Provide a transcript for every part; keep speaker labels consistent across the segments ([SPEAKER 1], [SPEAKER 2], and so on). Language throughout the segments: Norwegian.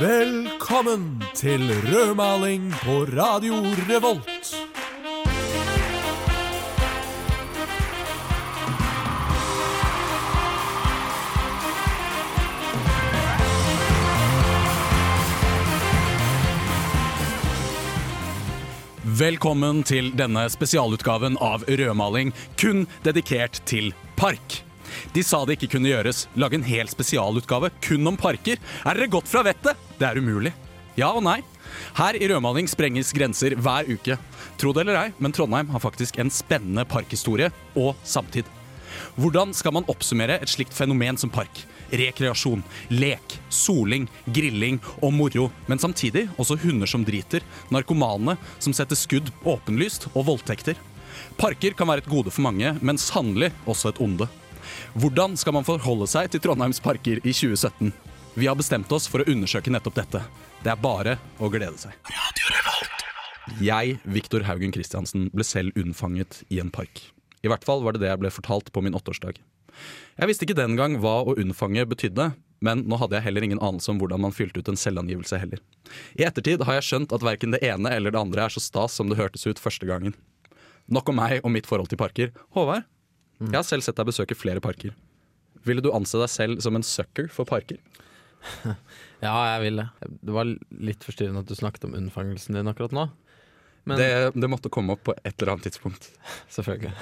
[SPEAKER 1] Velkommen til rødmaling på Radio Revolt.
[SPEAKER 2] Velkommen til denne spesialutgaven av Rødmaling, kun dedikert til park. De sa det ikke kunne gjøres. Lage en hel spesialutgave kun om parker. Er dere godt fra vettet? Det er umulig. Ja og nei. Her i Rødmaling sprenges grenser hver uke. Tro det eller ei, men Trondheim har faktisk en spennende parkhistorie og samtid. Hvordan skal man oppsummere et slikt fenomen som park? Rekreasjon, lek, soling, grilling og moro, men samtidig også hunder som driter, narkomane som setter skudd åpenlyst og voldtekter. Parker kan være et gode for mange, men sannelig også et onde. Hvordan skal man forholde seg til Trondheims parker i 2017? Vi har bestemt oss for å undersøke nettopp dette. Det er bare å glede seg. Jeg, Viktor Haugen Kristiansen, ble selv unnfanget i en park. I hvert fall var det det jeg ble fortalt på min åtteårsdag. Jeg visste ikke den gang hva å unnfange betydde, men nå hadde jeg heller ingen anelse om hvordan man fylte ut en selvangivelse heller. I ettertid har jeg skjønt at verken det ene eller det andre er så stas som det hørtes ut første gangen. Nok om meg og mitt forhold til parker. Håvard, jeg har selv sett deg besøke flere parker. Ville du anse deg selv som en sucker for parker?
[SPEAKER 3] Ja, jeg vil det. Det var litt forstyrrende at du snakket om unnfangelsen din akkurat nå. Men
[SPEAKER 2] Det, det måtte komme opp på et eller annet tidspunkt.
[SPEAKER 3] selvfølgelig.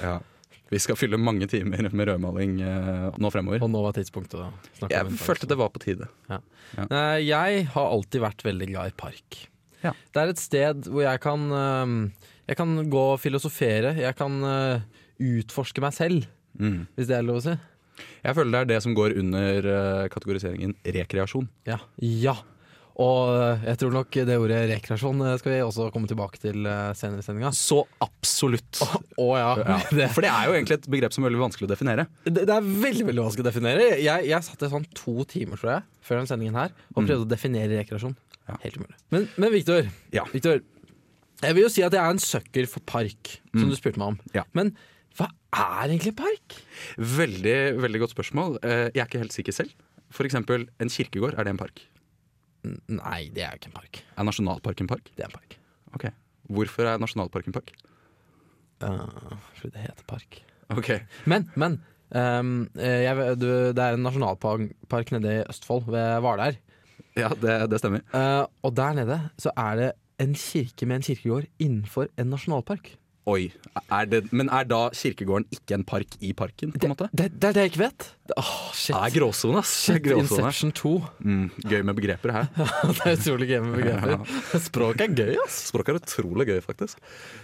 [SPEAKER 2] Vi skal fylle mange timer med rødmaling eh, nå fremover.
[SPEAKER 3] Og nå var tidspunktet å snakke om
[SPEAKER 2] Jeg følte det var på tide.
[SPEAKER 3] Nei, Jeg har alltid vært veldig glad i park.
[SPEAKER 2] Ja.
[SPEAKER 3] Det er et sted hvor jeg kan øhm, Jeg kan gå og filosofere. Jeg kan øh, utforske meg selv,
[SPEAKER 2] Mm.
[SPEAKER 3] hvis det er lov å si.
[SPEAKER 2] Jeg føler det er det som går under eh, kategoriseringen rekreasjon.
[SPEAKER 3] Ja. ja. Og øh, jeg tror nok det ordet rekreasjon øh, skal vi også komme tilbake til øh, senere i sendinga.
[SPEAKER 2] Så absolutt.
[SPEAKER 3] Å ja.
[SPEAKER 2] Ja.
[SPEAKER 3] Det,
[SPEAKER 2] For det er jo egentlig et begrep som er veldig vanskelig å definere.
[SPEAKER 3] Det, det er veldig veldig vanskelig å definere. Jeg, jeg satt i sånn to timer tror jeg, før den sendingen her og prøvde å definere rekreasjon.
[SPEAKER 2] Mm. Ja.
[SPEAKER 3] Helt umulig. Men, men Victor,
[SPEAKER 2] Ja.
[SPEAKER 3] Victor, jeg vil jo si at jeg er en søkker for park, som du spurte meg om.
[SPEAKER 2] Mm. Ja.
[SPEAKER 3] Men hva er egentlig park?
[SPEAKER 2] Veldig veldig godt spørsmål. Eh, jeg er ikke helt sikker selv. For eksempel, en kirkegård, er det en park?
[SPEAKER 3] Nei, det er jo ikke en park.
[SPEAKER 2] Er nasjonalpark en park?
[SPEAKER 3] Det er en park.
[SPEAKER 2] Ok. Hvorfor er nasjonalpark en park?
[SPEAKER 3] Eh, fordi det heter park.
[SPEAKER 2] Ok.
[SPEAKER 3] Men, men ehm, eh, jeg, du, det er en nasjonalpark nede i Østfold, ved Hvaler.
[SPEAKER 2] Ja, det, det stemmer.
[SPEAKER 3] Eh, og der nede så er det en kirke med en kirkegård innenfor en nasjonalpark.
[SPEAKER 2] Oi. Er det, men er da kirkegården ikke en park i parken? på en måte? Ah,
[SPEAKER 3] Det, det er det jeg ikke vet. Det- Åh, shit.
[SPEAKER 2] Det er gråsone, ass. Det er
[SPEAKER 3] Shit,
[SPEAKER 2] gråsone.
[SPEAKER 3] Inception 2.
[SPEAKER 2] Mm, gøy med begreper her.
[SPEAKER 3] det er utrolig gøy med begreper. Språk er gøy, ass.
[SPEAKER 2] Språk er utrolig gøy, faktisk.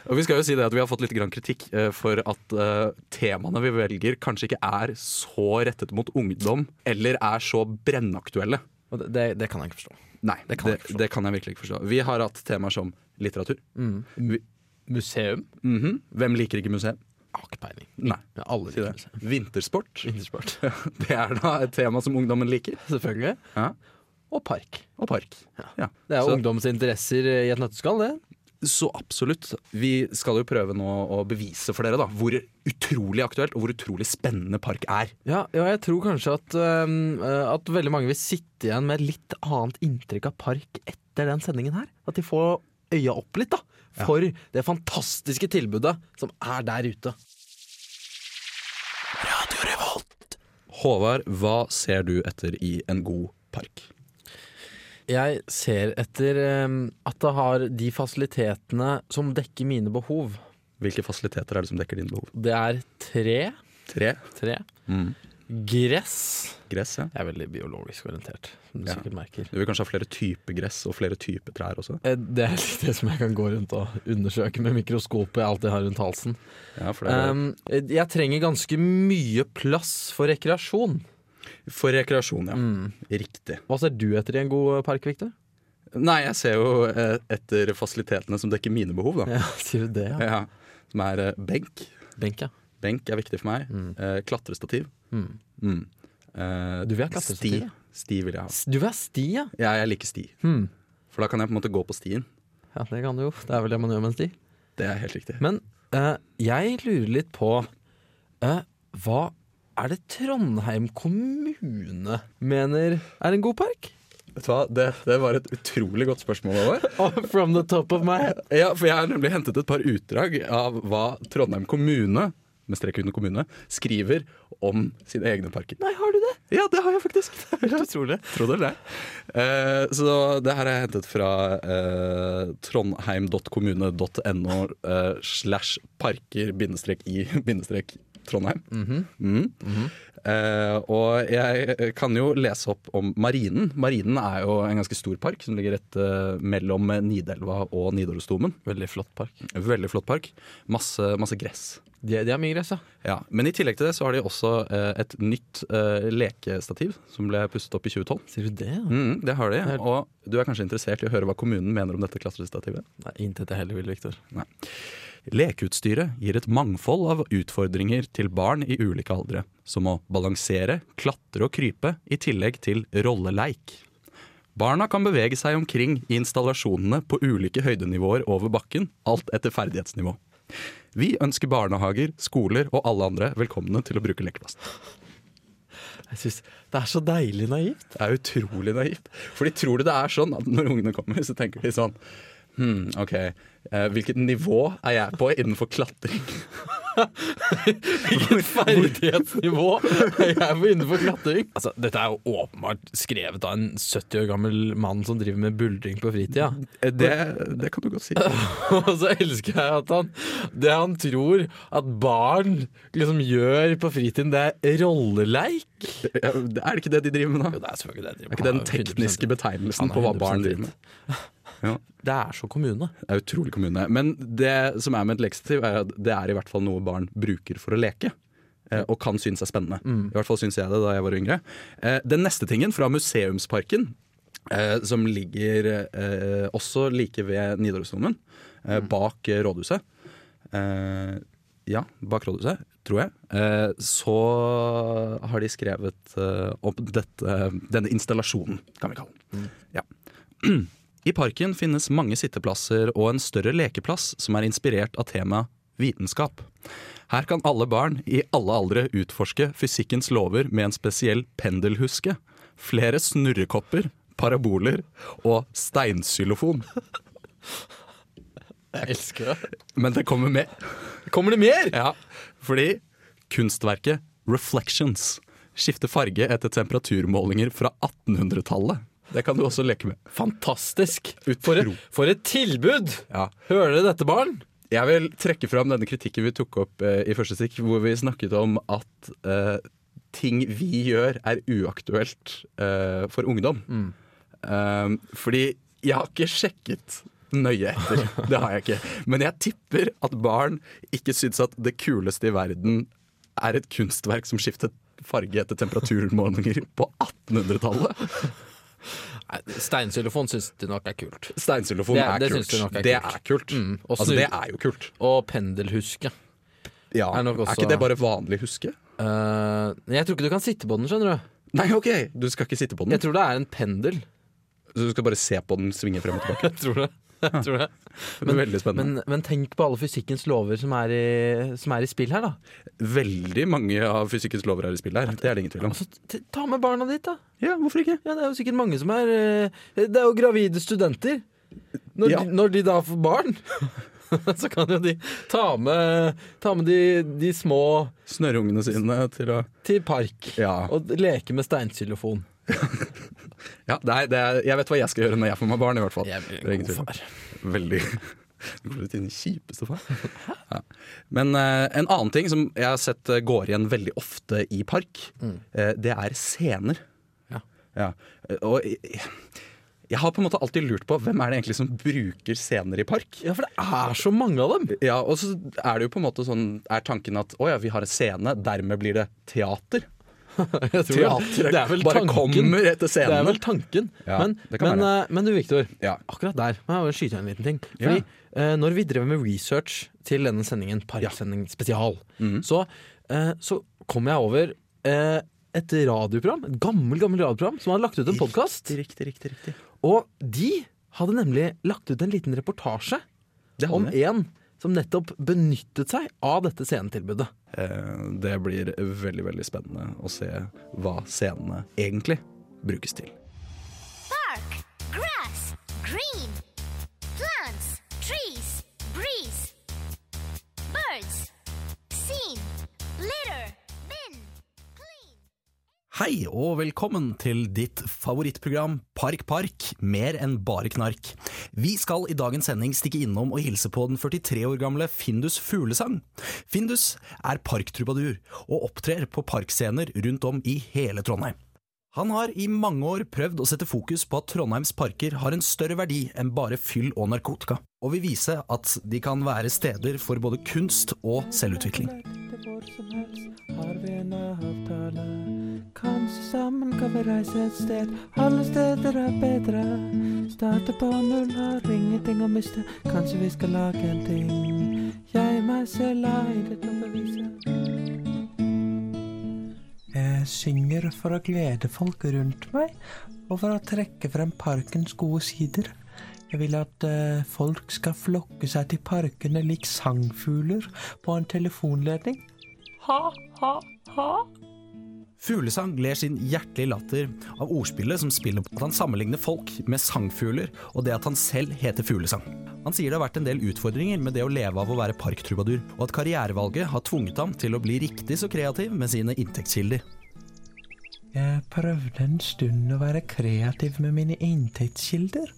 [SPEAKER 2] Og Vi skal jo si det at vi har fått litt grann kritikk eh, for at eh, temaene vi velger, kanskje ikke er så rettet mot ungdom, eller er så brennaktuelle.
[SPEAKER 3] Og det, det, det kan jeg ikke forstå.
[SPEAKER 2] Nei, det
[SPEAKER 3] Det kan
[SPEAKER 2] kan, det,
[SPEAKER 3] jeg ikke forstå.
[SPEAKER 2] kan jeg virkelig ikke forstå. Vi har hatt temaer som litteratur.
[SPEAKER 3] Mm.
[SPEAKER 2] Vi,
[SPEAKER 3] Museum?
[SPEAKER 2] mhm. Hvem liker ikke museum?
[SPEAKER 3] Jeg har ikke peiling.
[SPEAKER 2] Nei.
[SPEAKER 3] Jeg har aldri
[SPEAKER 2] Si det.
[SPEAKER 3] vært museum.
[SPEAKER 2] Vintersport.
[SPEAKER 3] Vintersport.
[SPEAKER 2] Det er da et tema som ungdommen liker.
[SPEAKER 3] Selvfølgelig.
[SPEAKER 2] Ja.
[SPEAKER 3] Og park.
[SPEAKER 2] Og park. Ja.
[SPEAKER 3] Det er jo
[SPEAKER 2] Så-
[SPEAKER 3] ungdoms interesser i et nøtteskall, det.
[SPEAKER 2] Så absolutt. Vi skal jo prøve nå å bevise for dere da, hvor utrolig aktuelt og hvor utrolig spennende park er.
[SPEAKER 3] Ja, ja, jeg tror kanskje at, øhm, øh, at veldig mange vil sitte igjen med et litt annet inntrykk av park etter den sendingen her. At de får øya opp litt, da. For det fantastiske tilbudet som er der ute.
[SPEAKER 2] Håvard, hva ser du etter i en god park?
[SPEAKER 3] Jeg ser etter em, at det har de fasilitetene som dekker mine behov.
[SPEAKER 2] Hvilke fasiliteter er det som dekker dine behov?
[SPEAKER 3] Det er tre.
[SPEAKER 2] Tre.
[SPEAKER 3] tre.
[SPEAKER 2] Mm.
[SPEAKER 3] Gress.
[SPEAKER 2] Gress, ja.
[SPEAKER 3] Jeg er veldig biologisk orientert, som du
[SPEAKER 2] Ja.
[SPEAKER 3] sikkert merker.
[SPEAKER 2] Du vil kanskje ha flere typer gress og flere typer trær også?
[SPEAKER 3] Eh, Det er litt det som jeg kan gå rundt og undersøke med mikroskopet jeg alltid har rundt halsen.
[SPEAKER 2] Ja, for,
[SPEAKER 3] Em, eh, jeg trenger ganske mye plass for rekreasjon.
[SPEAKER 2] for rekreasjon, ja. Riktig.
[SPEAKER 3] Hva ser du etter i en god eh, park, Victor?
[SPEAKER 2] Nei, jeg ser jo eh, etter fasilitetene som dekker mine behov, da.
[SPEAKER 3] Ja, sier du det, ja?
[SPEAKER 2] Ja. Som er eh, benk.
[SPEAKER 3] Benk, ja.
[SPEAKER 2] Benk er viktig for meg. Eh, klatrestativ.
[SPEAKER 3] Mm.
[SPEAKER 2] Mm. Eh,
[SPEAKER 3] Du vil ha klatrestativ, ja.
[SPEAKER 2] Sti. Sti vil jeg ha.
[SPEAKER 3] S- Du er sti, ja.
[SPEAKER 2] Ja, jeg liker sti.
[SPEAKER 3] Hmm.
[SPEAKER 2] For da kan jeg på en måte gå på stien.
[SPEAKER 3] Ja, det kan du jo. Det er vel det man gjør med en sti.
[SPEAKER 2] Det er helt riktig.
[SPEAKER 3] Men eh, jeg lurer litt på eh, hva er det Trondheim kommune mener er en god park?
[SPEAKER 2] Vet du hva? Det, det var et utrolig godt spørsmål. Over.
[SPEAKER 3] From the top of my head.
[SPEAKER 2] Ja, for Jeg har nemlig hentet et par utdrag av hva Trondheim kommune med strek under kommune, skriver om sine egne parker.
[SPEAKER 3] Nei, har du det?
[SPEAKER 2] Ja, det har jeg faktisk. Det er helt utrolig. Tro det eller ei. Eh, så det her har jeg hentet fra eh, trondheim.kommune.no eh, slash parker bindestrek i bindestrek Trondheim.
[SPEAKER 3] Mhm.
[SPEAKER 2] Mm. Eh, og jeg eh, kan jo lese opp om Marinen. Marinen er jo en ganske stor park som ligger rett eh, mellom Nidelva og Nidarosdomen.
[SPEAKER 3] Veldig flott park.
[SPEAKER 2] Veldig flott park. Masse, masse gress.
[SPEAKER 3] De, de har mye gress, ja.
[SPEAKER 2] Ja, Men i tillegg til det så har de også eh, et nytt eh, lekestativ som ble pusset opp i 2012.
[SPEAKER 3] Sier du det? Ja?
[SPEAKER 2] Mm, det har de, og du er kanskje interessert i å høre hva kommunen mener om dette klatrestativet?
[SPEAKER 3] Nei, Intet jeg heller vil, Victor.
[SPEAKER 2] Lekeutstyret gir et mangfold av utfordringer til barn i ulike aldre, som å balansere, klatre og krype, i tillegg til rolleleik. Barna kan bevege seg omkring i installasjonene på ulike høydenivåer over bakken, alt etter ferdighetsnivå. Vi ønsker barnehager, skoler og alle andre velkomne til å bruke lekeplass.
[SPEAKER 3] Jeg synes Det er så deilig naivt.
[SPEAKER 2] Det er utrolig naivt. For de tror det er sånn at når ungene kommer, så tenker de sånn Hm, OK. eh, Hvilket nivå er jeg på innenfor klatring?
[SPEAKER 3] Ferdighetsnivå. Jeg er på innenfor klatring. Altså, dette er jo åpenbart skrevet av en 70 år gammel mann som driver med buldring på fritida.
[SPEAKER 2] Eh, Det, det kan du godt si.
[SPEAKER 3] Og så elsker jeg at han Det han tror at barn liksom gjør på fritiden, det er rolleleik.
[SPEAKER 2] Ja, Er det ikke det de driver med
[SPEAKER 3] Jo,
[SPEAKER 2] da?
[SPEAKER 3] det er selvfølgelig det jeg driver
[SPEAKER 2] Er ikke det den
[SPEAKER 3] med. 100%.
[SPEAKER 2] tekniske betegnelsen
[SPEAKER 3] Han er
[SPEAKER 2] på hva barn
[SPEAKER 3] 100%
[SPEAKER 2] driver med? Ja,
[SPEAKER 3] Det er så kommune.
[SPEAKER 2] det er utrolig kommune. Men det som er med et lekestativ, er at det er i hvert fall noe barn bruker for å leke. eh, Og kan synes er spennende. I hvert fall synes jeg det da jeg var yngre. Eh, Den neste tingen fra Museumsparken, eh, som ligger eh, også like ved Nidarosdomen, eh, bak eh, rådhuset. Eh, ja, bak rådhuset, tror jeg. Eh, så har de skrevet eh, om dette, denne installasjonen, kan vi kalle den. Ja. I parken finnes mange sitteplasser og en større lekeplass som er inspirert av temaet vitenskap. Her kan alle barn i alle aldre utforske fysikkens lover med en spesiell pendelhuske, flere snurrekopper, paraboler og steinsylofon.
[SPEAKER 3] Jeg elsker det.
[SPEAKER 2] Men det kommer med.
[SPEAKER 3] Kommer det mer?
[SPEAKER 2] Ja, fordi kunstverket Reflections skifter farge etter temperaturmålinger fra 1800-tallet. Det kan du også leke med.
[SPEAKER 3] Fantastisk! For et,
[SPEAKER 2] Utro.
[SPEAKER 3] for et tilbud!
[SPEAKER 2] Ja.
[SPEAKER 3] Hører dere dette, barn?
[SPEAKER 2] Jeg vil trekke fram denne kritikken vi tok opp eh, i første stikk, hvor vi snakket om at eh, ting vi gjør er uaktuelt eh, for ungdom.
[SPEAKER 3] Mm.
[SPEAKER 2] Eh, fordi jeg har ikke sjekket nøye etter, det har jeg ikke. Men jeg tipper at barn ikke syns at det kuleste i verden er et kunstverk som skiftet farge etter temperaturmålinger på 1800-tallet.
[SPEAKER 3] Nei, Steinsylofon syns de nok er kult.
[SPEAKER 2] Steinsylofon
[SPEAKER 3] Det-
[SPEAKER 2] er,
[SPEAKER 3] det syns
[SPEAKER 2] kult.
[SPEAKER 3] du nok er
[SPEAKER 2] det
[SPEAKER 3] kult.
[SPEAKER 2] er kult.
[SPEAKER 3] Mm, og
[SPEAKER 2] Altså,
[SPEAKER 3] snu-
[SPEAKER 2] det er jo kult.
[SPEAKER 3] Og pendelhuske.
[SPEAKER 2] Ja.
[SPEAKER 3] Er
[SPEAKER 2] Er,
[SPEAKER 3] nok også-
[SPEAKER 2] ikke det bare vanlig huske?
[SPEAKER 3] Eh, jeg tror ikke du kan sitte på den, skjønner du.
[SPEAKER 2] Nei, ok, du skal ikke sitte på den.
[SPEAKER 3] Jeg tror det er en pendel.
[SPEAKER 2] Så du skal bare se på den svinge frem og tilbake.
[SPEAKER 3] Jeg tror det. Jeg tror det.
[SPEAKER 2] Det blir veldig spennende.
[SPEAKER 3] Men, men tenk på alle fysikkens lover som er, i, som er i spill her, da.
[SPEAKER 2] veldig mange av fysikkens lover er i spill her. Det er det ingen tvil om.
[SPEAKER 3] Altså, t- ta med barna ditt, da.
[SPEAKER 2] Ja, hvorfor ikke?
[SPEAKER 3] Ja, det er jo sikkert mange som er eh, Det er jo gravide studenter. Når,
[SPEAKER 2] Ja.
[SPEAKER 3] de, når de da får barn, så kan jo de ta med, ta med de, de små
[SPEAKER 2] Snørrungene sine til å
[SPEAKER 3] til park
[SPEAKER 2] Ja.
[SPEAKER 3] og leke med steinsylofon.
[SPEAKER 2] ja nei, det er, jeg vet hva jeg skal gjøre når jeg får meg barn, i hvert fall.
[SPEAKER 3] Jeg blir en
[SPEAKER 2] Det er ingen
[SPEAKER 3] god
[SPEAKER 2] tvil om. Veldig. Du kommer til den kjipeste far. Ja. Men eh, en annen ting som jeg har sett eh, går igjen veldig ofte i park, eh, det er scener.
[SPEAKER 3] Ja.
[SPEAKER 2] Ja. Eh, Og jeg, jeg har på en måte alltid lurt på hvem er det egentlig som bruker scener i park?
[SPEAKER 3] Ja, for det er så mange av dem!
[SPEAKER 2] Ja, og så er det jo på en måte sånn Er tanken at å ja, vi har en scene, dermed blir det teater.
[SPEAKER 3] Jeg tror
[SPEAKER 2] Teatret bare kommer etter
[SPEAKER 3] Det
[SPEAKER 2] scenene.
[SPEAKER 3] er vel tanken.
[SPEAKER 2] Ja,
[SPEAKER 3] men,
[SPEAKER 2] det kan
[SPEAKER 3] men, eh, men du, Viktor.
[SPEAKER 2] Ja.
[SPEAKER 3] Akkurat der må jeg bare skyte inn en liten ting. Fordi eh, Når vi drev med research til denne sendingen, Parksending spesial,
[SPEAKER 2] Mhm.
[SPEAKER 3] så, eh, så kom jeg over eh, et radioprogram, et gammel, gammel radioprogram som hadde lagt ut en podkast.
[SPEAKER 2] Riktig, riktig, riktig.
[SPEAKER 3] Og de hadde nemlig lagt ut en liten reportasje
[SPEAKER 2] Det
[SPEAKER 3] om
[SPEAKER 2] hadde vi.
[SPEAKER 3] en som nettopp benyttet seg av dette scenetilbudet.
[SPEAKER 2] Eh, Det blir veldig, veldig spennende å se hva scenene egentlig brukes til.
[SPEAKER 4] Park, grass, green, plants, trees, breeze, birds, scene, litter, bin, clean.
[SPEAKER 5] Hei og velkommen til ditt favorittprogram Park Park, mer enn bare knark. Vi skal i dagens sending stikke innom og hilse på den 43 år gamle Findus Fuglesang. Findus er parktrubadur og opptrer på parkscener rundt om i hele Trondheim. Han har i mange år prøvd å sette fokus på at Trondheims parker har en større verdi enn bare fyll og narkotika, og vil vise at de kan være steder for både kunst og selvutvikling.
[SPEAKER 6] hvor som helst har vi en avtale. Kanskje sammen kan vi reise et sted. Alle steder er bedre. Starte på null, har ingenting å miste. Kanskje vi skal lage en ting. Jeg, meg selv, er det til å bevise. Jeg synger for å glede folk rundt meg, og for å trekke frem parkens gode sider. Jeg vil at eh, folk skal flokke seg til parkene lik sangfugler på en telefonledning.
[SPEAKER 5] Fuglesang ler sin hjertelige latter av ordspillet som spiller på at han sammenligner folk med sangfugler, og det at han selv heter Fuglesang. Han sier det har vært en del utfordringer med det å leve av å være parktrubadur, og at karrierevalget har tvunget ham til å bli riktig så kreativ med sine inntektskilder.
[SPEAKER 6] Jeg prøvde en stund å være kreativ med mine inntektskilder,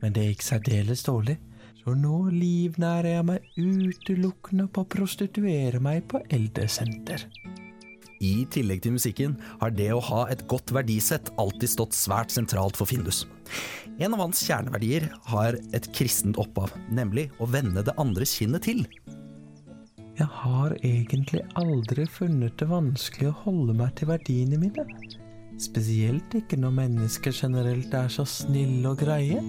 [SPEAKER 6] men det gikk særdeles dårlig. Så nå livnærer jeg meg utelukkende på å prostituere meg på eldresenter.
[SPEAKER 5] I tillegg til musikken har det å ha et godt verdisett alltid stått svært sentralt for Findus. En av hans kjerneverdier har et kristent opphav, nemlig å vende det andre kinnet til.
[SPEAKER 6] Jeg har egentlig aldri funnet det vanskelig å holde meg til verdiene mine. Spesielt ikke når mennesker generelt er så snille og greie.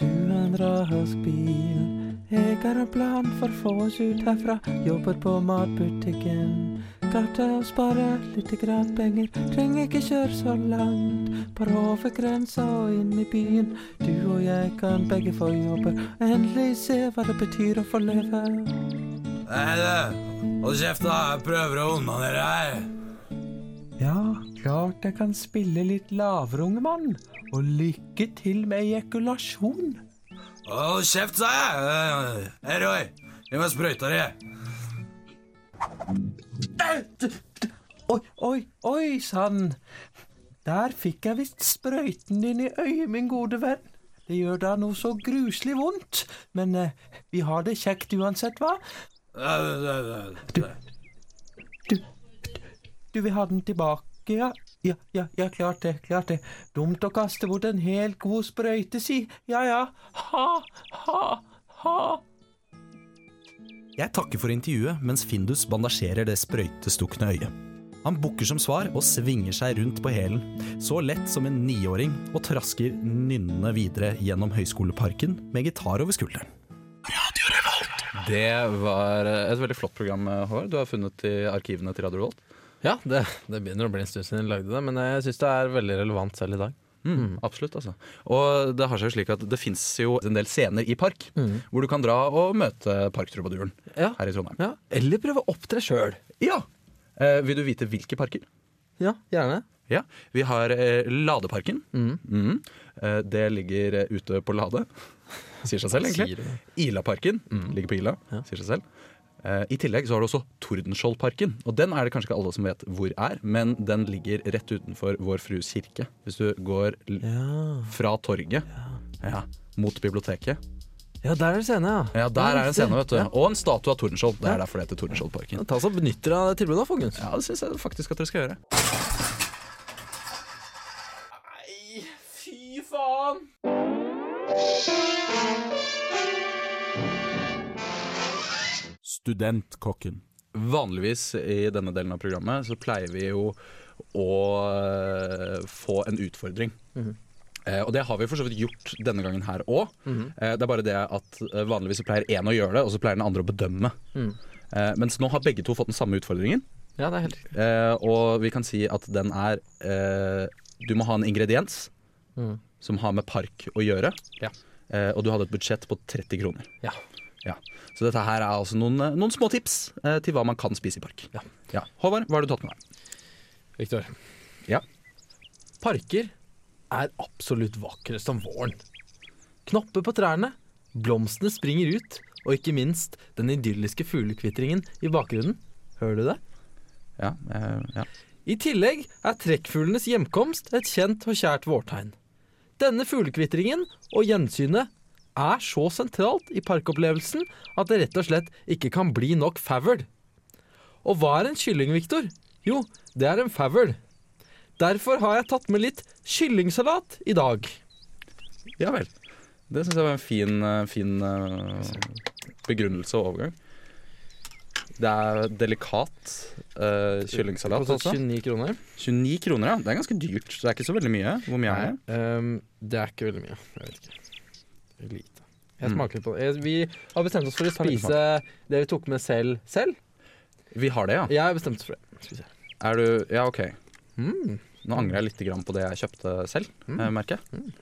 [SPEAKER 6] Du er en rask bil. Jeg har en plan for å få oss ut herfra. Jobber på matbutikken. Klarte å spare lite grann penger. Trenger ikke kjøre så langt. Bare over grensa og inn i byen. Du og jeg kan begge få jobber. Endelig se hva det betyr å få leve.
[SPEAKER 5] Nei, du! Hold kjeft, da! Jeg prøver å onanere her!
[SPEAKER 6] Ja, klart jeg kan spille litt lavere, unge mann. Og lykke til med ejakulasjon.
[SPEAKER 5] Hold kjeft, sa jeg! Hei, Roy. Vi må sprøyte deg.
[SPEAKER 6] Oi, oi, oi sann! Der fikk jeg visst sprøyten din i øyet, min gode venn. Det gjør da noe så gruselig vondt, men eh, vi har det kjekt uansett, hva? Du, du vil ha den tilbake, ja? Ja, ja, ja, klart det, klart det. Dumt å kaste bort en helt god sprøyte, si. Ja, ja. Ha, ha, ha.
[SPEAKER 5] Jeg takker for intervjuet mens Findus bandasjerer det sprøytestukne øyet. Han bukker som svar og svinger seg rundt på hælen, så lett som en niåring, og trasker nynnende videre gjennom Høyskoleparken med gitar over skulderen.
[SPEAKER 2] Det var et veldig flott program, Håvard. Du har funnet i arkivene til Radio Volt.
[SPEAKER 3] Ja, det, det begynner å bli en stund siden jeg lagde det, men jeg syns det er veldig relevant selv i dag.
[SPEAKER 2] Mm, absolutt, altså. Og det har seg jo slik at det fins jo en del scener i park hvor du kan dra og møte parktrubaduren
[SPEAKER 3] Mm. Ja.
[SPEAKER 2] her i Trondheim.
[SPEAKER 3] Ja, Eller prøve å opptre sjøl.
[SPEAKER 2] Ja! Eh, vil du vite hvilke parker?
[SPEAKER 3] Ja, gjerne.
[SPEAKER 2] Ja, Vi har eh, Ladeparken.
[SPEAKER 3] Mm.
[SPEAKER 2] Mhm. Eh, det ligger eh, ute på Lade. Sier seg selv,
[SPEAKER 3] Sier
[SPEAKER 2] egentlig.
[SPEAKER 3] det. Mm.
[SPEAKER 2] Ilaparken ligger på Ila. Sier seg selv. Eh, I tillegg så har du også Tordenskjoldparken. Og den er det kanskje ikke alle som vet hvor er, men den ligger rett utenfor Vår Frues kirke. Hvis du går l
[SPEAKER 3] Ja,
[SPEAKER 2] fra torget ja, mot biblioteket.
[SPEAKER 3] ja der er det scene, ja.
[SPEAKER 2] Ja, Der er det en scene, vet du.
[SPEAKER 3] Ja.
[SPEAKER 2] Og en statue av Tordenskjold. Det er derfor det heter Tordenskjoldparken.
[SPEAKER 3] Ta så Benytt dere av det tilbudet, da, folkens.
[SPEAKER 2] Ja, det syns jeg faktisk at dere skal gjøre.
[SPEAKER 1] Studentkokken.
[SPEAKER 2] Vanligvis i denne delen av programmet så pleier vi jo å eh, få en utfordring. Eh, og det har vi for så vidt gjort denne gangen her òg. eh, det er bare det at eh, vanligvis så pleier én å gjøre det, og så pleier den andre å bedømme. Eh, mens nå har begge to fått den samme utfordringen,
[SPEAKER 3] Ja, det er helt riktig.
[SPEAKER 2] eh, og vi kan si at den er eh, Du må ha en ingrediens som har med park å gjøre.
[SPEAKER 3] Ja.
[SPEAKER 2] eh, og du hadde et budsjett på 30 kroner.
[SPEAKER 5] Ja.
[SPEAKER 2] Ja. Så dette her er altså noen, eh, noen små tips eh, til hva man kan spise i park.
[SPEAKER 5] Ja.
[SPEAKER 2] Håvard, hva har du tatt med deg?
[SPEAKER 5] Viktor.
[SPEAKER 2] Ja.
[SPEAKER 5] Parker
[SPEAKER 3] er absolutt vakrest om våren. Knopper på trærne, blomstene springer ut, og ikke minst den idylliske fuglekvittringen i bakgrunnen. Hører du det?
[SPEAKER 2] Ja, eh, ja.
[SPEAKER 3] I tillegg er trekkfuglenes hjemkomst et kjent og kjært vårtegn. Denne fuglekvittringen og gjensynet er så sentralt i parkopplevelsen at det rett og slett ikke kan bli nok favl. Og hva er en kylling, Viktor? Jo, det er en favl. Derfor har jeg tatt med litt kyllingsalat i dag.
[SPEAKER 2] ja vel. Det syns jeg var en fin, eh, fin eh, begrunnelse og overgang. Det er delikat eh, kyllingsalat også.
[SPEAKER 3] 29 kroner.
[SPEAKER 2] 29 kroner, ja. Det er ganske dyrt. så Det er ikke så veldig mye. Hvor mye er det?
[SPEAKER 3] Ehm, det er ikke veldig mye. Jeg vet ikke. Det er Lite. Jeg smaker litt på det. Jeg- Vi har bestemt oss for å
[SPEAKER 2] Ta Mm. litt
[SPEAKER 3] spise det vi tok med selv. Selv?
[SPEAKER 2] Vi har det, ja.
[SPEAKER 3] Jeg har bestemt oss for det. Skal vi se.
[SPEAKER 2] Er du Ja, OK.
[SPEAKER 3] Mm,
[SPEAKER 2] Nå angrer jeg litt grann på det jeg kjøpte selv,
[SPEAKER 3] Mm.
[SPEAKER 2] eh, merker jeg.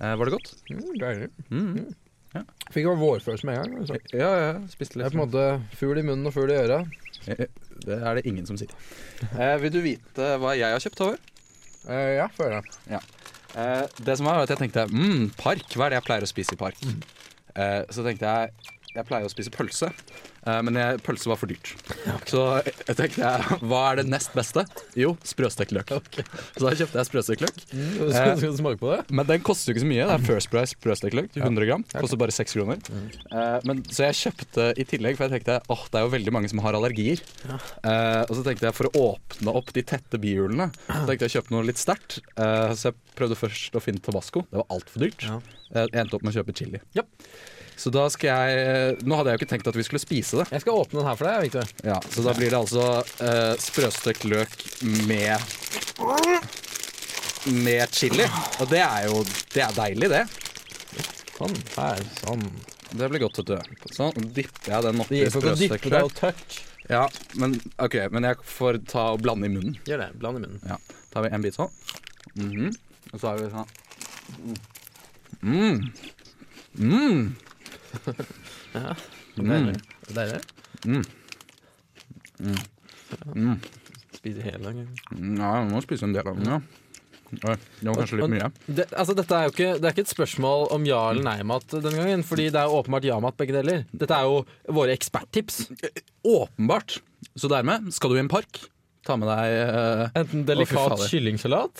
[SPEAKER 2] Eh, var det godt?
[SPEAKER 3] mm, deilig.
[SPEAKER 2] Mm.
[SPEAKER 3] Fikk jo vårfølelse med en gang. altså.
[SPEAKER 2] Ja, ja, ja. Spiste
[SPEAKER 3] Det er
[SPEAKER 2] litt. Eh,
[SPEAKER 3] på en måte fugl i munnen og fugl i øret.
[SPEAKER 2] Det er det ingen som sier. Eh, vil du vite hva jeg har kjøpt, Håvard?
[SPEAKER 3] Eh, ja, føler jeg.
[SPEAKER 2] Eh, det som var, var at jeg tenkte mm, park, hva er det jeg pleier å spise i park? Eh, så tenkte jeg jeg pleier å spise pølse, eh, men jeg, pølse var for dyrt. Så jeg tenkte jeg, hva er det nest beste? Jo, sprøstekt løk. Så da kjøpte jeg sprøstekt løk.
[SPEAKER 3] Mm, Skal, skal du smake på det?
[SPEAKER 2] Men den koster jo ikke så mye. Det er First Price sprøstekt løk. 100 gram. Koster bare 6 kroner. Eh, men, så jeg kjøpte i tillegg, for jeg tenkte åh, det er jo veldig mange som har allergier. Eh, og så tenkte jeg for å åpne opp de tette bihulene, så tenkte jeg å kjøpe noe litt sterkt. Eh, så jeg prøvde først å finne tabasco. Det var altfor dyrt. Eh,
[SPEAKER 3] Ja.
[SPEAKER 2] Jeg endte opp med å kjøpe chili.
[SPEAKER 3] Ja.
[SPEAKER 2] Så da skal jeg Nå hadde jeg jo ikke tenkt at vi skulle spise det.
[SPEAKER 3] Jeg skal åpne den her for deg, Victor.
[SPEAKER 2] Ja, så da blir det altså eh, sprøstekt løk med med chili. Og det er jo det er deilig, det.
[SPEAKER 3] Sånn. Her, sånn.
[SPEAKER 2] Det blir godt, vet du. Sånn dypper jeg den
[SPEAKER 3] Det
[SPEAKER 2] oppi
[SPEAKER 3] gir seg til å dyppe
[SPEAKER 2] sprøstekt
[SPEAKER 3] deg og
[SPEAKER 2] løk.
[SPEAKER 3] touch.
[SPEAKER 2] Ja, men, ok, men jeg får ta og blande i munnen.
[SPEAKER 3] Gjør det. Bland i munnen.
[SPEAKER 2] Ja, tar vi en bit sånn. Mhm. Og så har vi sånn.
[SPEAKER 3] Deilig. Deilig. Mm. Spiser hele den.
[SPEAKER 2] Mm, Ja, jeg må spise en del av den, ja. Oi, Det var kanskje litt mye.
[SPEAKER 3] Det, altså, dette er jo ikke, det er ikke et spørsmål om ja eller nei-mat denne gangen, fordi det er jo åpenbart ja-mat begge deler. Dette er jo våre eksperttips.
[SPEAKER 2] eh, Åpenbart. Så dermed, skal du i en park, ta med deg eh,
[SPEAKER 3] Enten
[SPEAKER 2] Å, fy
[SPEAKER 3] delikat
[SPEAKER 2] fader.
[SPEAKER 3] kyllingsalat,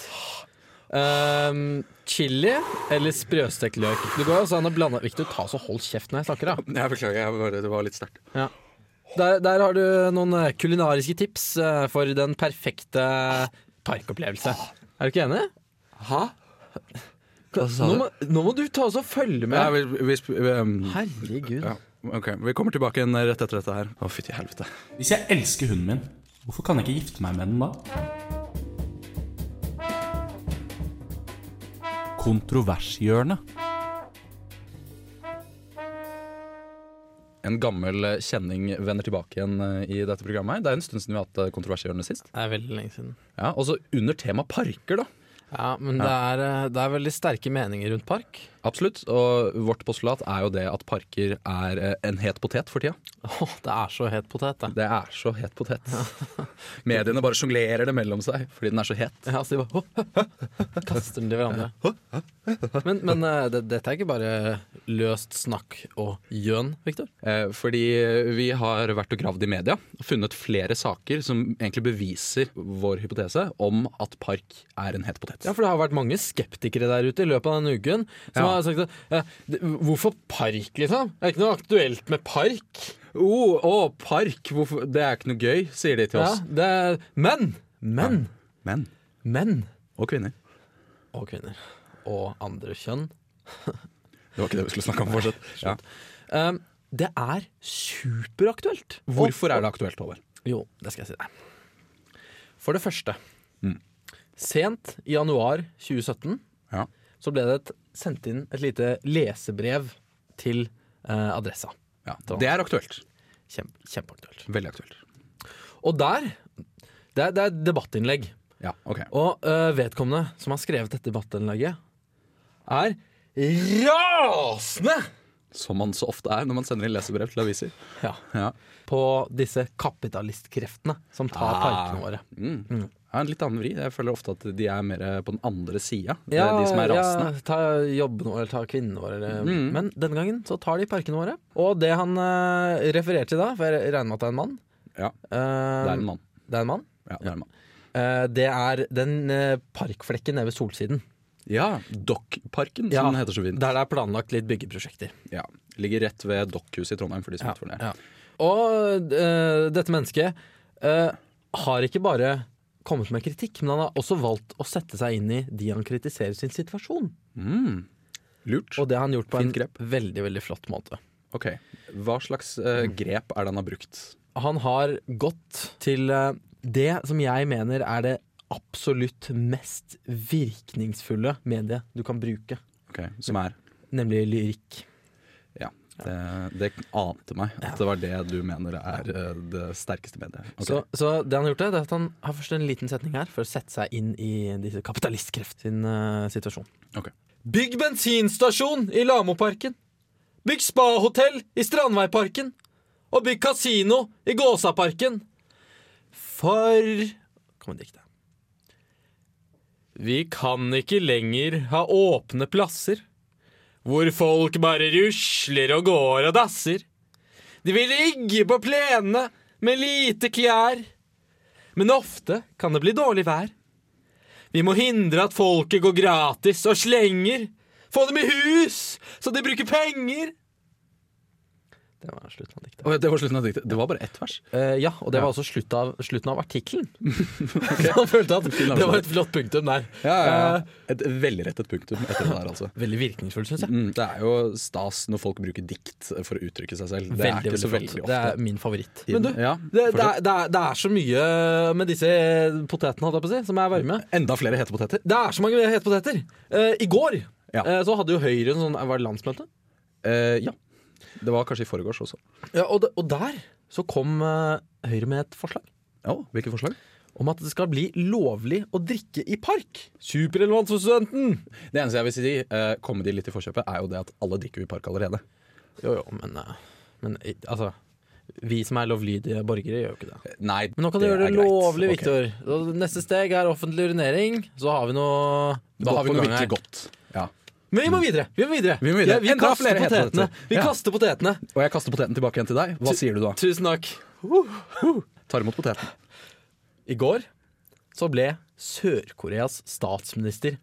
[SPEAKER 3] ehm, chili eller sprøstekt løk. Det går jo også an å blande Victor, ta så hold kjeft når jeg snakker, da.
[SPEAKER 2] Jeg beklager, jeg var- det var litt sterkt.
[SPEAKER 3] Der, der har du noen eh, kulinariske tips eh, for den perfekte parkopplevelse. Er du ikke enig?
[SPEAKER 2] Hæ? Hva sa
[SPEAKER 3] Nå må, nå må du ta oss og følge
[SPEAKER 2] Ja,
[SPEAKER 3] med.
[SPEAKER 2] vi, vi, sp- vi, um,
[SPEAKER 3] Herregud.
[SPEAKER 2] ja, ok, vi kommer tilbake igjen rett etter dette her. Å, fytti helvete.
[SPEAKER 1] Hvis jeg elsker hunden min, hvorfor kan jeg ikke gifte meg med den da? Kontrovershjørnet.
[SPEAKER 2] En gammel eh, kjenning vender tilbake igjen eh, i dette programmet. her. Det er en stund siden vi har hatt eh, kontroversihjørnet sist.
[SPEAKER 3] Det er veldig lenge siden.
[SPEAKER 2] Ja, Også under tema parker, da.
[SPEAKER 3] Ja, men Det, er, eh, det er veldig sterke meninger rundt park.
[SPEAKER 2] Absolutt. Og vårt postulat er jo det at parker er eh, en het potet for tida.
[SPEAKER 3] Åh, det er så het potet, det.
[SPEAKER 2] Det er så het potet. Mediene bare sjonglerer det mellom seg fordi den er så het.
[SPEAKER 3] Ja, så de bare kaster den til hverandre. Men, men eh, det, dette er ikke bare løst snakk og gjøn, Victor.
[SPEAKER 2] Eh, Fordi vi har vært og gravd i media og funnet flere saker som egentlig beviser vår hypotese om at park er en het potet.
[SPEAKER 3] Ja, for det har vært mange skeptikere der ute i løpet av denne uken som
[SPEAKER 2] Ja.
[SPEAKER 3] har sagt at eh, det- Hvorfor park, liksom? Det er ikke noe aktuelt med park.
[SPEAKER 2] Oh, å, park! Hvorfor? Det er ikke noe gøy, sier de til
[SPEAKER 3] Ja,
[SPEAKER 2] oss.
[SPEAKER 3] det er, men! Men!
[SPEAKER 2] Menn
[SPEAKER 3] Menn!
[SPEAKER 2] og kvinner.
[SPEAKER 3] Og kvinner. Og andre kjønn.
[SPEAKER 2] Det var ikke det vi skulle snakke om. fortsatt. Ja.
[SPEAKER 3] Eh, det er superaktuelt.
[SPEAKER 2] Hvorfor er det aktuelt, Håvard?
[SPEAKER 3] Jo, det skal jeg si deg. For det første. Sent i januar 2017
[SPEAKER 2] Ja.
[SPEAKER 3] så ble det et, sendt inn et lite lesebrev til eh, Adressa.
[SPEAKER 2] Ja, det er aktuelt.
[SPEAKER 3] Kjempe, kjempeaktuelt.
[SPEAKER 2] Veldig aktuelt.
[SPEAKER 3] Og der Det er, det er et debattinnlegg.
[SPEAKER 2] Ja, ok.
[SPEAKER 3] Og eh, vedkommende som har skrevet dette debattinnlegget, er rasende
[SPEAKER 2] Som man så ofte er når man sender inn leserbrev til aviser.
[SPEAKER 3] ja,
[SPEAKER 2] Ja.
[SPEAKER 3] på disse kapitalistkreftene som tar parkene våre.
[SPEAKER 2] Mm. Ja, en litt annen vri. Jeg føler ofte at de er mer på den andre sida.
[SPEAKER 3] Ja,
[SPEAKER 2] eh, de som er rasende. Mm.
[SPEAKER 3] Ja, ta jobbene våre, ta kvinnene våre. eller- Men denne gangen så tar de parkene våre. Og det han eh, refererer til da, for jeg regner med at det er en mann
[SPEAKER 2] Ja,
[SPEAKER 3] eh,
[SPEAKER 2] det er en mann.
[SPEAKER 3] det er en mann.
[SPEAKER 2] Ja, det er en mann.
[SPEAKER 3] Eh, det er den eh, parkflekken nede ved Solsiden.
[SPEAKER 2] Ja, Dokkparken,
[SPEAKER 3] Ja,
[SPEAKER 2] som den heter så fint.
[SPEAKER 3] Der det er planlagt litt byggeprosjekter.
[SPEAKER 2] Ja. Ligger rett ved Dokkhuset i Trondheim, for de som ikke får det.
[SPEAKER 3] Og eh, dette mennesket eh, har ikke bare kommet med kritikk, men han har også valgt å sette seg inn i de han kritiserer sin situasjon.
[SPEAKER 2] Lurt.
[SPEAKER 3] Og det har han gjort på en
[SPEAKER 2] Fint grep.
[SPEAKER 3] veldig, veldig flott måte.
[SPEAKER 2] Ok, Hva slags eh, grep er det han har brukt?
[SPEAKER 3] Han har gått til eh, det som jeg mener er det absolutt mest virkningsfulle mediet du kan bruke,
[SPEAKER 2] Ok, Som er
[SPEAKER 3] nemlig lyrikk.
[SPEAKER 2] Ja. Det, det ante meg at det var det du mener er eh, det sterkeste mediet. Ok.
[SPEAKER 3] Så, så det han har gjort, er at han har først en liten setning her for å sette seg inn i disse kapitalistkreft sin eh, situasjon.
[SPEAKER 2] Ok.
[SPEAKER 3] Bygg bensinstasjon i Lamoparken. Bygg spahotell i Strandveiparken. Og bygg kasino i Gåsaparken. For Kom med diktet. Vi kan ikke lenger ha åpne plasser hvor folk bare rusler og går og dasser. De vil ligge på plenene med lite klær. Men ofte kan det bli dårlig vær. Vi må hindre at folket går gratis og slenger. Få dem i hus, så de bruker penger. Det var slutten av diktet.
[SPEAKER 2] Å, ja, det var slutten av diktet. Det var bare ett vers.
[SPEAKER 3] eh, ja, og det var også slutt av, slutten av artikkelen. Han følte at det var et flott punktum der. Eh,
[SPEAKER 2] Et velrettet punktum etter det der, altså.
[SPEAKER 3] veldig virkningsfullt, syns jeg.
[SPEAKER 2] Mm, det er jo stas når folk bruker dikt for å uttrykke seg selv. Det er
[SPEAKER 3] Veldig,
[SPEAKER 2] ikke så
[SPEAKER 3] veldig
[SPEAKER 2] veldig
[SPEAKER 3] flott.
[SPEAKER 2] ofte.
[SPEAKER 3] Det er min favoritt.
[SPEAKER 2] Inn.
[SPEAKER 3] Men du,
[SPEAKER 2] Ja,
[SPEAKER 3] det, det,
[SPEAKER 2] fortsett.
[SPEAKER 3] er, det, er, det er så mye med disse potetene, holdt jeg på å si, som er varme.
[SPEAKER 2] Enda flere hete poteter.
[SPEAKER 3] Det er så mange hetepoteter. Eh, I går
[SPEAKER 2] Ja.
[SPEAKER 3] eh, så hadde jo Høyre en sånn Var det landsmøte?
[SPEAKER 2] Eh, ja. Det var kanskje i forgårs også.
[SPEAKER 3] Ja, og, de, og der så kom eh, Høyre med et forslag
[SPEAKER 2] Ja, Hvilke forslag?
[SPEAKER 3] om at det skal bli lovlig å drikke i park. Superrelevant for studenten!
[SPEAKER 2] Det eneste jeg vil si, eh, komme de litt i forkjøpet, er jo det at alle drikker jo i park allerede.
[SPEAKER 3] Jo, jo, men, eh, men i- altså Vi som er lovlydige borgere, gjør jo ikke det.
[SPEAKER 2] Nei,
[SPEAKER 3] Men nå kan du gjøre
[SPEAKER 2] er
[SPEAKER 3] det
[SPEAKER 2] greit.
[SPEAKER 3] lovlig,
[SPEAKER 2] Ok.
[SPEAKER 3] Viktor. Så Neste steg er offentlig urinering. Så har vi noe
[SPEAKER 2] Da har vi
[SPEAKER 3] på
[SPEAKER 2] noe
[SPEAKER 3] gang her.
[SPEAKER 2] virkelig godt. Ja.
[SPEAKER 3] Men vi må videre! Vi må videre.
[SPEAKER 2] Vi må videre.
[SPEAKER 3] Ja, vi
[SPEAKER 2] Enda
[SPEAKER 3] kaster
[SPEAKER 2] flere
[SPEAKER 3] potetene.
[SPEAKER 2] hetepoteter.
[SPEAKER 3] Vi
[SPEAKER 2] Ja.
[SPEAKER 3] kaster potetene.
[SPEAKER 2] Og jeg kaster poteten tilbake igjen til deg. Hva sier du da?
[SPEAKER 3] Tusen takk.
[SPEAKER 2] Tar imot poteten.
[SPEAKER 3] I går så ble Sør-Koreas statsminister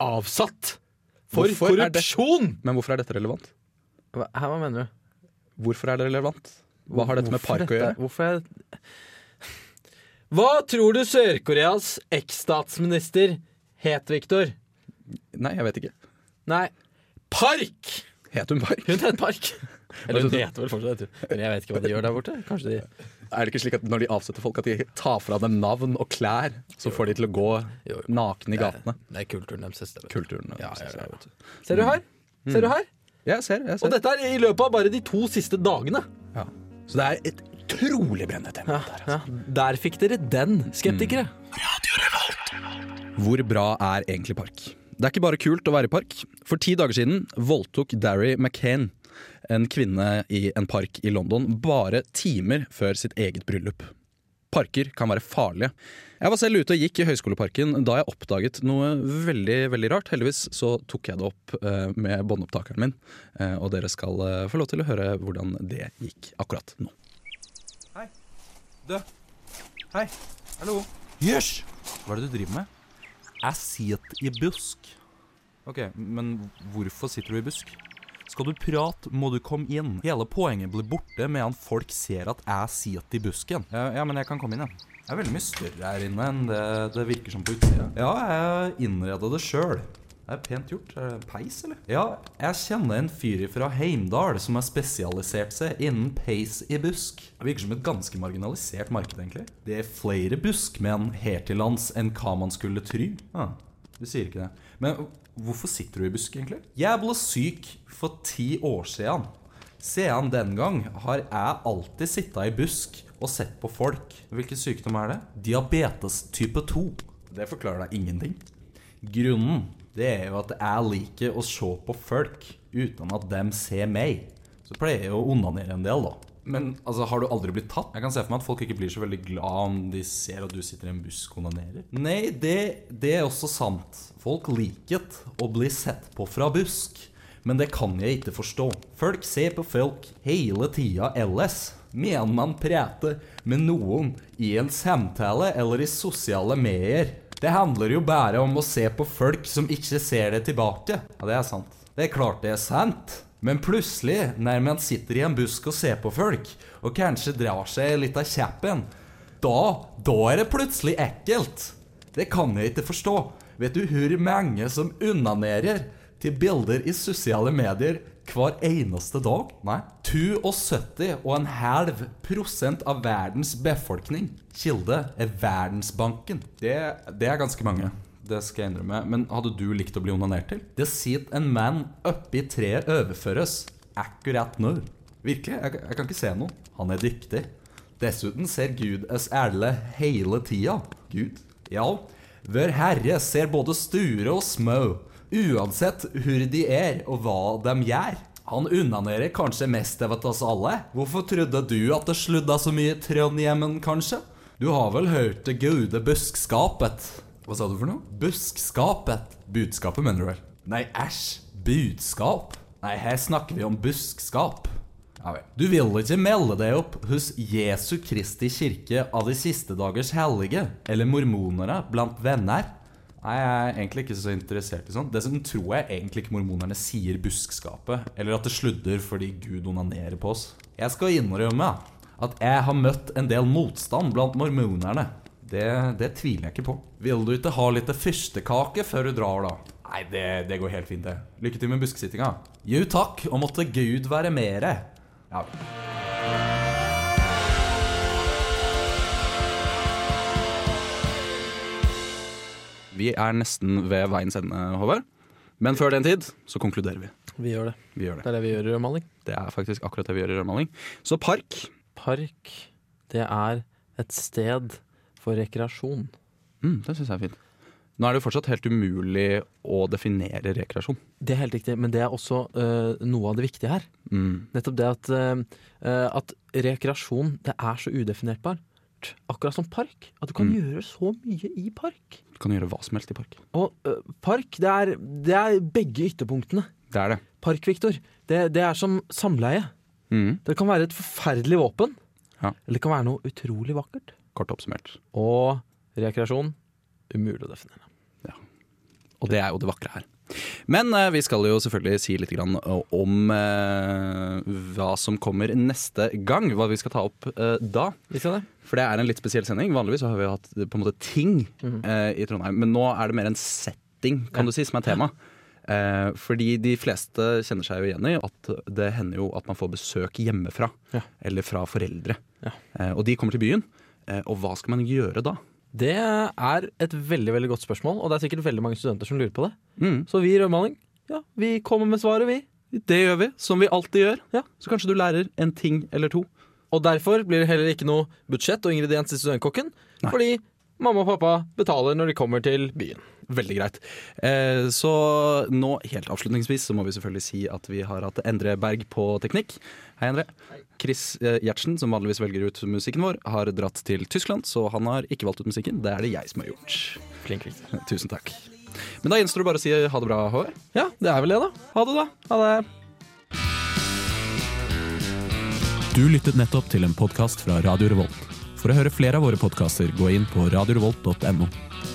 [SPEAKER 3] avsatt for
[SPEAKER 2] Hvorfor er det-
[SPEAKER 3] korrupsjon!
[SPEAKER 2] Men hvorfor er dette relevant?
[SPEAKER 3] Hva, hæ, hva mener du?
[SPEAKER 2] Hvorfor er det relevant? Hva har dette med
[SPEAKER 3] Hvorfor
[SPEAKER 2] park å gjøre?
[SPEAKER 3] dette- Hvorfor er Hva tror du Sør-Koreas eks-statsminister het, Viktor?
[SPEAKER 2] Nei, jeg vet ikke.
[SPEAKER 3] Nei, Park!
[SPEAKER 2] Het hun Park?
[SPEAKER 3] Hun het Park. Eller hun heter vel fortsatt det, tror jeg. Men jeg vet ikke hva de gjør der borte. Kanskje de
[SPEAKER 2] Er det ikke slik at når de avsetter folk, at de tar fra dem navn og klær, så får de til å gå
[SPEAKER 3] Jo, jo.
[SPEAKER 2] nakne i gatene?
[SPEAKER 3] Det er kulturen deres. det vet du.
[SPEAKER 2] Kulturen.
[SPEAKER 3] Ja, ja,
[SPEAKER 2] synes jeg, vet du.
[SPEAKER 3] Ser du her? Ser du her?
[SPEAKER 2] Jeg ser, jeg
[SPEAKER 3] Og
[SPEAKER 2] ser.
[SPEAKER 3] dette er i løpet av bare de to siste dagene.
[SPEAKER 2] Ja. Så det er et utrolig brennende tema. der, altså.
[SPEAKER 3] Der fikk dere den, skeptikere.
[SPEAKER 2] Hvor bra er egentlig park? Det er ikke bare kult å være i park. For ti dager siden voldtok Derry McCain en kvinne i en park i London bare timer før sitt eget bryllup. Parker kan være farlige. Jeg var selv ute og gikk i Høyskoleparken da jeg oppdaget noe veldig veldig rart. Heldigvis så tok jeg det opp eh, med båndopptakeren min, eh, og dere skal eh, få lov til å høre hvordan det gikk akkurat nå.
[SPEAKER 1] Jøss! Hva er det du driver med? Jeg sitter i busk. Ok, men hvorfor sitter du i busk? Skal du prate, må du komme inn. Hele poenget blir borte medan folk ser at jeg sitter i busken. Ja, ja, men jeg kan komme inn, ja. Jeg er veldig mye større her inne enn det det virker som på utsida. Ja, jeg innreda det sjøl. Det er pent gjort. Er det peis, eller? Ja, jeg kjenner en fyr fra Heimdal som har spesialisert seg innen peis i busk. Det virker som et ganske marginalisert marked, egentlig. Det er flere buskmenn her til lands enn hva man skulle tru. Ah, du sier ikke det. Men hvorfor sitter du i busk, egentlig? Jeg ble syk for ti år siden. Siden den gang har jeg alltid sittet i busk og sett på folk. Hvilken sykdom er det? Diabetes type 2. Det forklarer deg ingenting. Grunnen
[SPEAKER 2] det er jo at jeg liker å se på folk uten at de ser meg. Så pleier jeg å onanere en del, da. Men altså, har du aldri blitt tatt? Jeg kan se for meg at folk ikke blir så veldig glad om de ser at du sitter i en busk og onanerer. Nei, det, det er også sant. Folk liker å bli sett på fra busk. Men det kan jeg ikke forstå. Folk ser på folk hele tida ellers. Mener man prater med noen i en samtale eller i sosiale medier. Det handler jo bare om å se på folk som ikke ser det tilbake. Ja, det er sant. Det er klart det er sant. Men plutselig, når man sitter i en busk og ser på folk, og kanskje drar seg litt av kjeppen, da, da er det plutselig ekkelt. Det kan jeg ikke forstå. Vet du hvor mange som onanerer til bilder i sosiale medier hver eneste dag? Nei. 72,5 av verdens befolkning. Kilde er Verdensbanken. Det, det er ganske mange. Det skal jeg innrømme. Men hadde du likt å bli onanert til? Det sitter en mann oppi treet overføres akkurat nå. Virkelig, jeg, jeg kan ikke se noe. Han er dyktig. Dessuten ser Gud oss alle hele tida. Gud? Ja. Vår Herre ser både store og små, uansett hvor de er og hva de gjør. Han onanerer kanskje mest av oss alle. Hvorfor trodde du at det sludda så mye i Trondheimen, kanskje? Du har vel hørt det gode buskskapet? Hva sa du for noe? Buskskapet. Budskapet, mener du vel? Nei, æsj. Budskap? Nei, her snakker vi om buskskap. Ja vel. Du vil ikke melde deg opp hos Jesu Kristi kirke av de siste dagers hellige, eller mormonere blant venner? Nei, jeg er egentlig ikke så interessert i sånt. Dessuten tror jeg egentlig ikke mormonerne sier buskskapet, eller at det sludder fordi Gud onanerer på oss. Jeg skal innrømme at jeg har møtt en del motstand blant mormonerne. Det, det tviler jeg ikke på. Vil du ikke ha litt fyrstekake før du drar, da? Nei, det, det går helt fint, det. Lykke til med buskesittinga. Jo takk, og måtte Gud være mere. Ja.
[SPEAKER 7] Vi er nesten ved veiens ende, Håvard. Men før den tid så konkluderer vi.
[SPEAKER 3] Vi gjør det.
[SPEAKER 7] Vi gjør
[SPEAKER 3] Det
[SPEAKER 7] det.
[SPEAKER 3] er det vi gjør i Maling.
[SPEAKER 7] Det er faktisk akkurat det vi gjør i rødmaling. Så park.
[SPEAKER 3] Park, det er et sted for rekreasjon.
[SPEAKER 7] Mm, det syns jeg er fint. Nå er det jo fortsatt helt umulig å definere rekreasjon.
[SPEAKER 3] Det er helt riktig, men det er også øh, noe av det viktige her.
[SPEAKER 7] Mm,
[SPEAKER 3] Nettopp det at, øh, øh, at rekreasjon det er så udefinerbart. Akkurat som park. At du kan gjøre så mye i park.
[SPEAKER 7] Du kan gjøre hva som helst i park.
[SPEAKER 3] Og øh, park, det er, det er begge ytterpunktene.
[SPEAKER 7] Det er det.
[SPEAKER 3] Park, Viktor, det, det er som samleie.
[SPEAKER 7] Mm.
[SPEAKER 3] Det kan være et forferdelig våpen.
[SPEAKER 7] Ja.
[SPEAKER 3] Eller det kan være noe utrolig vakkert.
[SPEAKER 7] Kort oppsummert.
[SPEAKER 3] Og rekreasjon umulig å definere.
[SPEAKER 7] Og det er jo det vakre her. Men eh, vi skal jo selvfølgelig si litt grann eh, om eh, hva som kommer neste gang. Hva vi skal ta opp eh, da.
[SPEAKER 3] Visste jeg det?
[SPEAKER 7] For det er en litt spesiell sending. Vanligvis så har vi jo hatt eh, på en måte ting
[SPEAKER 3] Mhm.
[SPEAKER 7] eh, i Trondheim. Men nå er det mer en setting, kan du si, som er tema. Eh, fordi de fleste kjenner seg jo igjen i at det hender jo at man får besøk hjemmefra.
[SPEAKER 3] Ja.
[SPEAKER 7] Eller fra foreldre.
[SPEAKER 3] Ja.
[SPEAKER 7] Eh, og de kommer til byen. Eh, og hva skal man gjøre da?
[SPEAKER 3] Det er et veldig veldig godt spørsmål, og det er sikkert veldig mange studenter som lurer på det. Så vi i Rødmaling, ja, vi kommer med svaret, vi.
[SPEAKER 7] Det gjør vi, som vi alltid gjør.
[SPEAKER 3] Ja.
[SPEAKER 7] Så kanskje du lærer en ting eller to.
[SPEAKER 3] Og derfor blir det heller ikke noe budsjett og ingrediens i Studentkokken, fordi mamma og pappa betaler når de kommer til byen.
[SPEAKER 7] Veldig greit. Eh, så nå, helt avslutningsvis, så må vi selvfølgelig si at vi har hatt Endre Berg på teknikk. Hei, Endre. Chris eh, Gjertsen, som vanligvis velger ut musikken vår, har dratt til Tyskland, så han har ikke valgt ut musikken. Det er det jeg som har gjort.
[SPEAKER 3] Flink, flink.
[SPEAKER 7] Tusen takk. Men da gjenstår det bare å si ha det bra, Håvard.
[SPEAKER 3] Ja, det er vel det, da. Ha det, da. Ha det.
[SPEAKER 8] Du lyttet nettopp til en podkast fra Radio Revolt. For å høre flere av våre podkaster, gå inn på radiorevolt.no.